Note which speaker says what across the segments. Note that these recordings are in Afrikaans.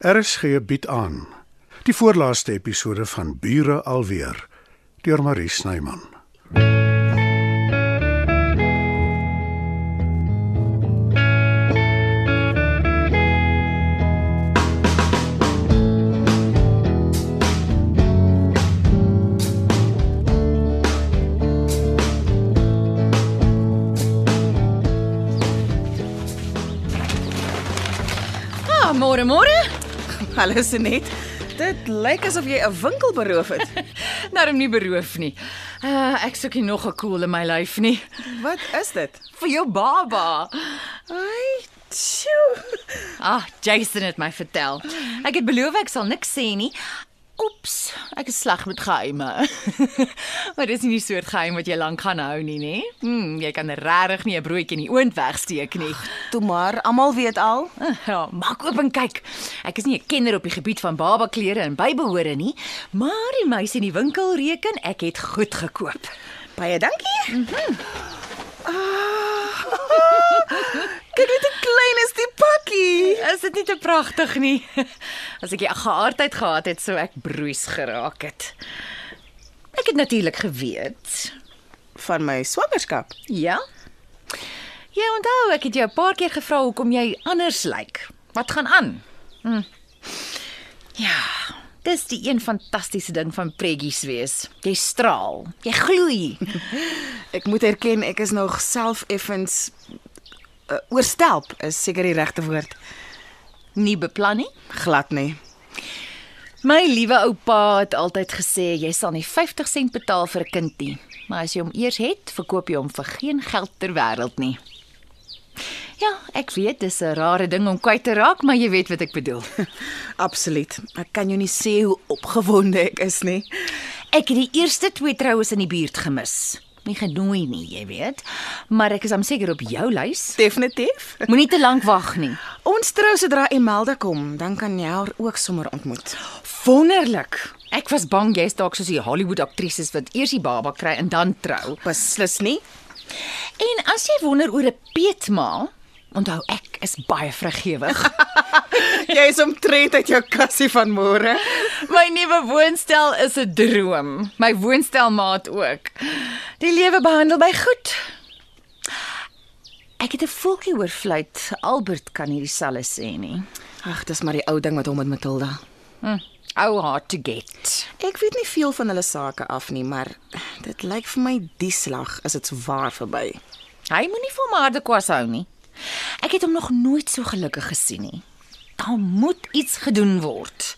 Speaker 1: RSG bied aan die voorlaaste episode van Bure alweer deur Marie Snyman.
Speaker 2: Ah, môre môre.
Speaker 3: Hallo Senet. Dit lyk asof jy 'n winkel beroof het.
Speaker 2: Daarom nie beroof nie. Uh, ek soek nie nog 'n koel in my lyf nie
Speaker 3: Wat is dit?
Speaker 2: vir jou baba.
Speaker 3: Ai, tjoe.
Speaker 2: Ah, Jason het my vertel. Ek het beloof ek sal niks sê nie. Oeps, ek is sleg met geheime. maar dis nie die soort geheim wat jy lank gaan hou nie, nê? Hm, jy kan regtig nie 'n broodjie in die oond wegsteek nie.
Speaker 3: Toe maar, almal weet al.
Speaker 2: Ja, maak oop en kyk. Ek is nie 'n kenner op die gebied van babaklere en bybehore nie, maar die meisie in die winkel reken ek het goed gekoop.
Speaker 3: Baie dankie. Mhm. Mm Kyk net hoe klein is die pakkie.
Speaker 2: Is dit nie te pragtig nie? As ek die geaardheid gehad het, sou ek broeis geraak het. Ek het natuurlik geweet.
Speaker 3: Van my swangerskap.
Speaker 2: Ja. Jy onthou ek het jou 'n paar keer gevra hoekom jy anders lyk. Wat gaan aan? Hm. Ja, dis die een fantastiese ding van preggies wees. Jy straal, jy gloei.
Speaker 3: Ek moet erken ek is nog self effens uh, oorstelp, is seker die regte woord.
Speaker 2: Nie beplan nie.
Speaker 3: Glad nie.
Speaker 2: My liewe oupa het altyd gesê jy sal nie 50 sent betaal vir 'n kind nie, maar as jy hom eers het, verkoop jy hom vir geen geld ter wêreld nie. Ja, ek weet dis 'n rare ding om kwyt te raak, maar jy weet wat ek bedoel.
Speaker 3: Absoluut. Ek kan jou nie sê hoe opgewonde ek is nie.
Speaker 2: Ek het die eerste twee troues in die buurt gemis. Nie genooi nie, jy weet, maar ek is hom seker op jou lys.
Speaker 3: Definitief.
Speaker 2: Moenie te lank wag nie.
Speaker 3: Ons trou sodra Imelda kom, dan kan jy haar ook sommer ontmoet.
Speaker 2: Wonderlik. Ek was bang jy's dalk soos die Hollywood aktrises wat eers die baba kry en dan trou.
Speaker 3: Beslis nie.
Speaker 2: En as jy wonder oor 'n peetmaal, onthou ek is baie vrygewig.
Speaker 3: Jy is omtrent uit jou kassie van môre.
Speaker 2: My nuwe woonstel is 'n droom. My woonstelmaat ook. Die lewe behandel my goed. Ek het 'n voeltjie oor fluit. Albert kan nie dieselfde sê nie.
Speaker 3: Ag, dis maar die ou ding wat hom met Matilda.
Speaker 2: Hm, ou hard to get.
Speaker 3: Ek weet nie veel van hulle sake af nie, maar dit lyk vir my die slag is dit waar verby.
Speaker 2: Hy moenie vir my harde kwas hou nie. Ek het hom nog nooit so gelukkig gesien nie. Daar moet iets gedoen word.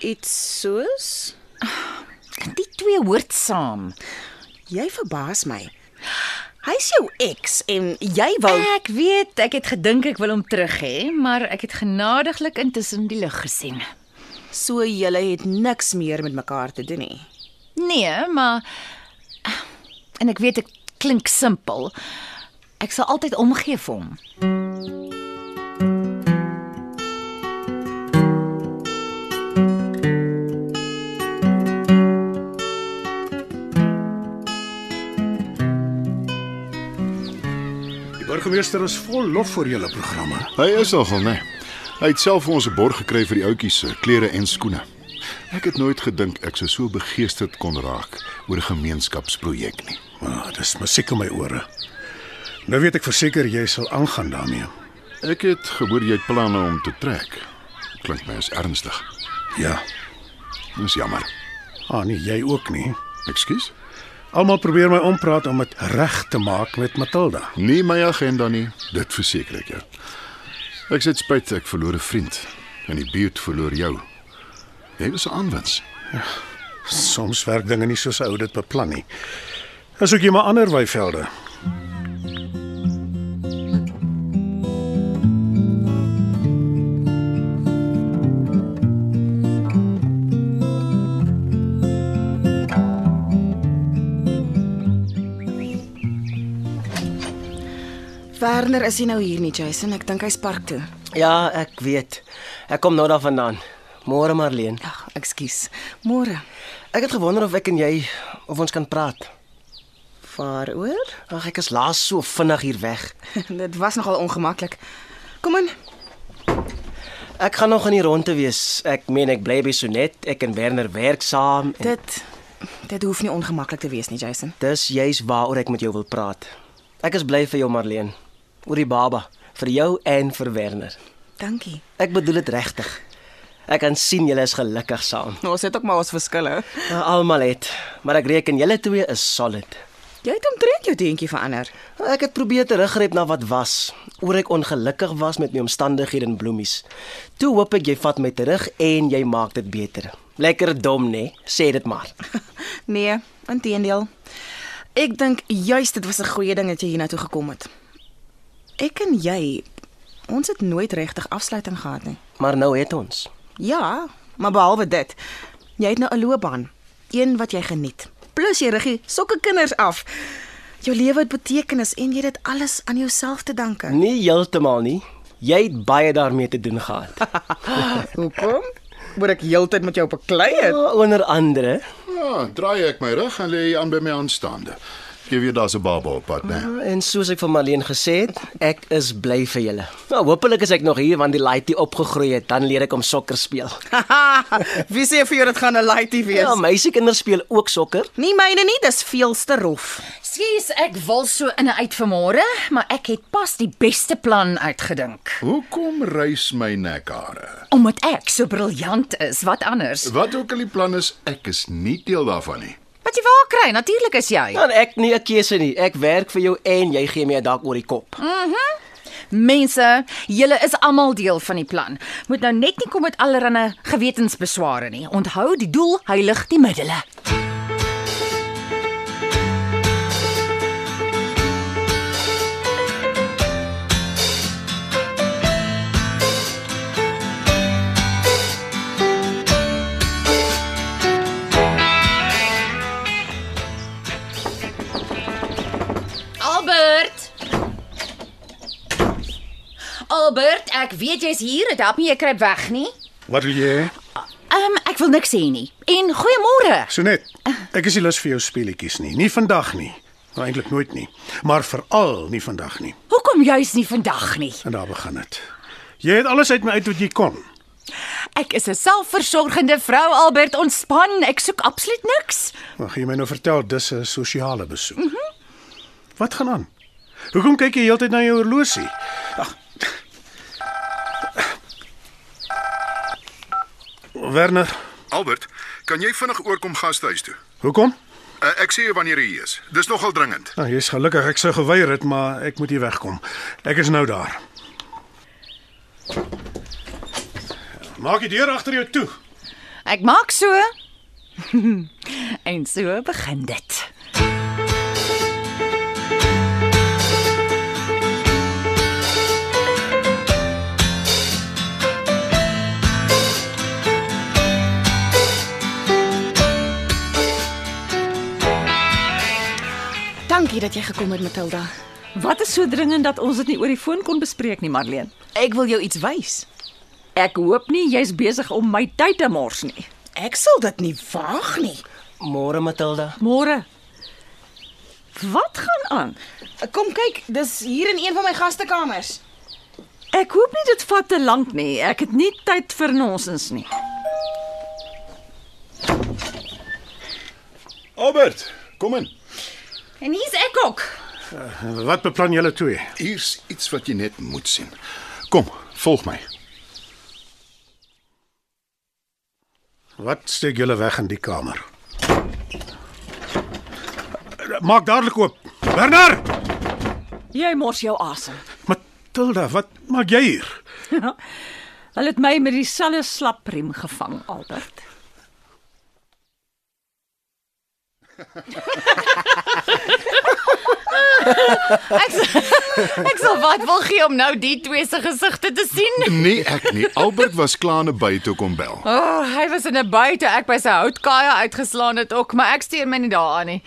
Speaker 3: Iets soos
Speaker 2: Die twee hoort saam.
Speaker 3: jy verbaas my. Hy's jou ex en jy wou
Speaker 2: Ek weet, ek het gedink ek wil hom terug hê, maar ek het genadiglik intussen die lig gesien.
Speaker 3: so julle het niks meer met mekaar te doen nie.
Speaker 2: Nee, maar eh, en ek weet ek klink simpel. Ek sal altyd omgee vir hom.
Speaker 1: Die burgemeester is vol lof vir julle programme.
Speaker 4: Hy is nogal, né? Hy het self vir ons 'n borg gekry vir die ouetjies se klere en skoene. Ek het nooit gedink ek sou so begeesterd kon raak oor 'n gemeenskapsprojek nie.
Speaker 1: Maar dis musiek in my ore. Nou weet ek verseker jy sal aangaan daarmee.
Speaker 4: Ek het gehoor jy het planne om te trek. Klink my as ernstig.
Speaker 1: Ja.
Speaker 4: Dis jammer.
Speaker 1: Ah nee, jy ook nie.
Speaker 4: Ekskuus?
Speaker 1: Almal probeer my ompraat om dit reg te maak met Matilda.
Speaker 4: Nie my agenda nie, dit verseker ek jou. Ek sit spyt ek verloor 'n vriend en die buurt verloor jou. Jy was 'n aanwins.
Speaker 1: Soms werk dinge nie soos 'n ou dit beplan nie. As ook jy maar ander weivelde.
Speaker 3: Werner is nie nou hier nie, Jason. Ek dink hy's park toe.
Speaker 5: Ja, ek weet. Ek kom nou daarvandaan. Môre Marleen.
Speaker 3: Ag, ekskuus. Môre.
Speaker 5: Ek het gewonder of ek en jy of ons kan praat.
Speaker 3: Waaroor?
Speaker 5: Ag, ek is laas so vinnig hier weg.
Speaker 3: Dit was nogal ongemaklik. Kom in.
Speaker 5: Ek gaan nog aan die ronde wees. Ek meen ek bly by Sonet. Ek en Werner werk saam. En
Speaker 3: Dit dit hoef nie ongemaklik te wees nie, Jason.
Speaker 5: dis juis waaroor ek met jou wil praat. Ek is bly vir jou Marleen, oor die baba, vir jou en vir Werner.
Speaker 3: Dankie.
Speaker 5: Ek bedoel dit regtig. Ek kan sien julle is gelukkig saam.
Speaker 3: Nou, ons het ook maar ons verskille.
Speaker 5: Nou, Almal het, maar ek reken julle twee is solid.
Speaker 3: Jy het omtrent jou deentjie verander.
Speaker 5: Ek het probeer teruggryp na wat was, oor ek ongelukkig was met my omstandighede en bloemies. Toe hoop ek jy vat my terug en jy maak dit beter. Lekker dom nê, sê dit maar.
Speaker 3: Nee, inteendeel. Ek dink juis dit was 'n goeie ding dat jy hiernatoe gekom het. Ek en jy ons het nooit regtig afsluiting gehad nie.
Speaker 5: Maar nou het ons.
Speaker 3: Ja, maar behalwe dit, jy het nou 'n loopbaan, een wat jy geniet. Plus jy riggie sokke kinders af. Jou lewe het betekenis en jy het dit alles aan jouself te danke.
Speaker 5: Nie heeltemal nie. Jy het baie daarmee te doen gehad.
Speaker 3: Hoekom? Moet ek heeltyd met jou beklei het?
Speaker 5: Ja, Onder andere,
Speaker 4: Ja, draai ek my rug en lê aan by my aanstaande. Jy weet daar's 'n baba op pad, né?
Speaker 5: en soos ek vir Marleen gesê het, ek is bly vir julle. Nou, hopelik is ek nog hier want die laaitie opgegroei het, dan leer ek om sokker speel.
Speaker 3: Wie sê vir jou dit gaan 'n laaitie wees?
Speaker 5: Ja, meisiekinders speel ook sokker.
Speaker 3: nie myne nie, dis veelste rof.
Speaker 2: Skus, ek wil so in en uit vanmôre, maar ek het pas die beste plan uitgedink.
Speaker 4: Hoekom rys my nekhare?
Speaker 2: Omdat ek so briljant is, wat anders?
Speaker 4: Wat ook al die plan is, ek is nie deel daarvan nie.
Speaker 2: Wat jy waar kry, natuurlik is jy.
Speaker 5: Dan ek nie 'n keuse nie. Ek werk vir jou en jy gee my 'n dak oor die kop.
Speaker 2: Mense, julle is almal deel van die plan. Moet nou net nie kom met allerlei gewetensbesware nie. Onthou, die doel heilig die middele. Albert. Albert, ek weet jy's hier. Dit help nie jy kruip weg nie.
Speaker 1: Wat wil jy?
Speaker 2: Ehm um, ek wil niks sê nie. En goeiemôre.
Speaker 1: Sonet. Ek is nie lus vir jou speletjies nie. Nie vandag nie. Maar eintlik nooit nie. Maar veral nie vandag nie.
Speaker 2: Hoekom juis nie vandag nie?
Speaker 1: En daar begin dit. Jy het alles uit my uit wat jy kon.
Speaker 2: Ek is 'n selfversorgende vrou, Albert. Ontspan. Ek soek absoluut niks.
Speaker 1: Mag jy my nou vertel dis 'n sosiale besoek? Mm -hmm. Wat gaan aan? Hoekom kyk jy heeltyd na jou horlosie? Ag. Werner,
Speaker 4: Albert, kan jy vinnig oorkom gastehuis toe?
Speaker 1: hoekom?
Speaker 4: Uh, ek sê jou wanneer jy hier is. Dis nogal dringend.
Speaker 1: Nou, jy's gelukkig ek sou geweier het, maar ek moet hier wegkom. Ek is nou daar. Maak die deur agter jou toe.
Speaker 2: Ek maak so. en so begin dit.
Speaker 3: Dankie dat jy gekom het, Matilda.
Speaker 6: Wat is so dringend dat ons dit nie oor die foon kon bespreek nie, Marleen?
Speaker 3: Ek wil jou iets wys.
Speaker 6: Ek hoop nie jy's besig om my tyd te mors nie.
Speaker 3: Ek sal dit nie waag nie.
Speaker 5: Môre Matilda.
Speaker 6: Môre. Wat gaan aan?
Speaker 3: Kom kyk, dis hier in een van my gastekamers.
Speaker 6: Ek hoop nie dit vat te lank nie. Ek het nie tyd vir nonsens nie.
Speaker 4: Albert, kom in.
Speaker 2: En hier's ek ook.
Speaker 1: Wat beplan julle twee?
Speaker 4: Hier's iets wat jy net moet sien. Kom, volg my.
Speaker 1: Wat steek julle weg in die kamer? Maak dadelik oop. Werner!
Speaker 6: Jy mors jou asem.
Speaker 1: Matilda, wat maak jy hier?
Speaker 6: Hulle het my met dieselfde slapriem gevang, Albert.
Speaker 2: Ek s- ek sal wat wil gee om nou die twee se gesigte te sien.
Speaker 4: Nee, ek nie. Albert was klaar naby toe kom bel.
Speaker 2: O, oh, hy was in 'n buite ek by sy houtkaja uitgeslaan het ook, maar ek steur my nie daaraan nie.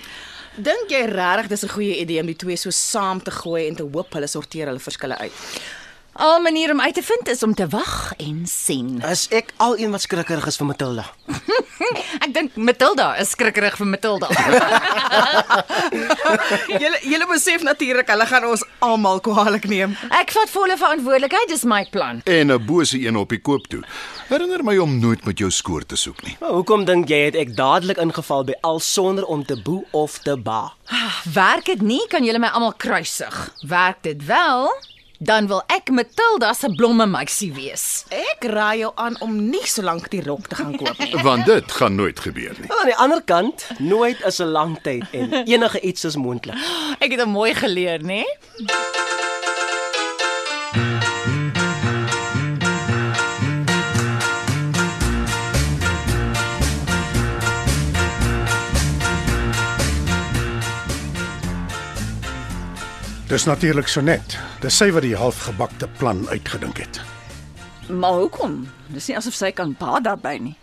Speaker 3: Dink jy regtig dis 'n goeie idee om die twee so saam te gooi en te hoop hulle sorteer hulle verskille uit?
Speaker 2: Al manier om uit te vind is om te wag en sien.
Speaker 5: As ek al een wat skrikkerig is vir Matilda.
Speaker 2: Ek dink
Speaker 7: dink Matilda is skrikkerig vir Matilda.
Speaker 3: Julle julle besef natuurlik hulle gaan ons almal kwaadlik neem.
Speaker 7: Ek vat volle verantwoordelikheid, dis my plan.
Speaker 4: En 'n bose een op die koop toe. Herinner my om nooit met jou skoor te soek nie.
Speaker 5: Maar hoekom dink jy het ek dadelik ingeval by al sonder om te boe of te ba?
Speaker 7: Werk dit nie, kan julle my almal kruisig. Werk dit wel, dan wil ek Matilda se blomme meisie wees.
Speaker 3: Ek raai jou aan om nie so lank die rok te gaan koop nie.
Speaker 4: Want dit gaan nooit gebeur nie.
Speaker 5: Aan die ander kant, nooit is 'n lang tyd en enige iets is moontlik.
Speaker 7: Ek het hom mooi geleer, né? Nee?
Speaker 1: Dis natuurlik Sonet. Dis sy wat die halfgebakte plan uitgedink het.
Speaker 2: Maar hoekom? Dis nie asof sy kan baat daarby nie.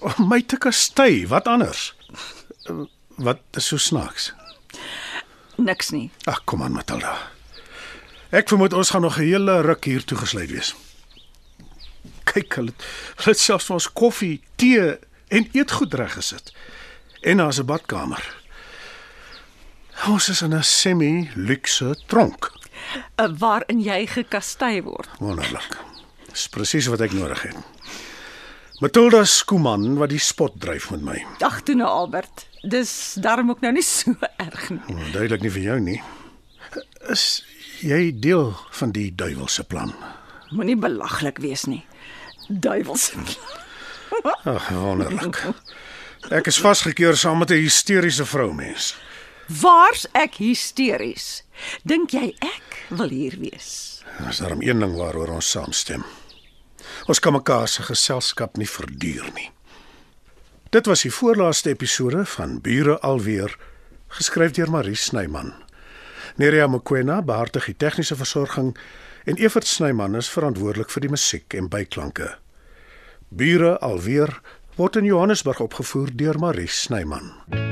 Speaker 1: Oh, my te kastei, wat anders? Eh, Wat is so snaaks?
Speaker 2: Niks nie.
Speaker 1: Ag, kom aan Matilda. Ek vermoed ons gaan nog 'n hele ruk hier toegesluit wees. Kyk, hulle het- hulle het selfs vir ons koffie, tee en eetgoed reggesit. En daar's 'n badkamer. Ons is in 'n semi-luxe tronk.
Speaker 2: Uh, waarin jy gekastei word.
Speaker 1: Wonderlik. Dis presies wat ek nodig het. Matilda Skuman wat die spot dryf met my.
Speaker 2: Ag toe nou Albert. Dis daarom ook nou nie so erg nie.
Speaker 1: Nou, Duidelik nie vir jou nie. Is jy deel van die duiwelse plan?
Speaker 2: Moenie belaglik wees nie. Duiwels.
Speaker 1: Ag, wonderlik. Ek is vasgekeer saam met 'n hysteriese vroumens.
Speaker 2: Waar's ek hysteries? Dink jy ek wil hier wees?
Speaker 1: Daar's daarom een ding waaroor ons saamstem. Ons kan mekaar se geselskap nie verduur nie. Dit was die voorlaaste episode van Bure alweer, geskryf deur Marie Snyman. Nerea Mkwena behartig die tegniese versorging en Evert Snyman is verantwoordelik vir die musiek en byklanke. Bure alweer word in Johannesburg opgevoer deur Marie Snyman.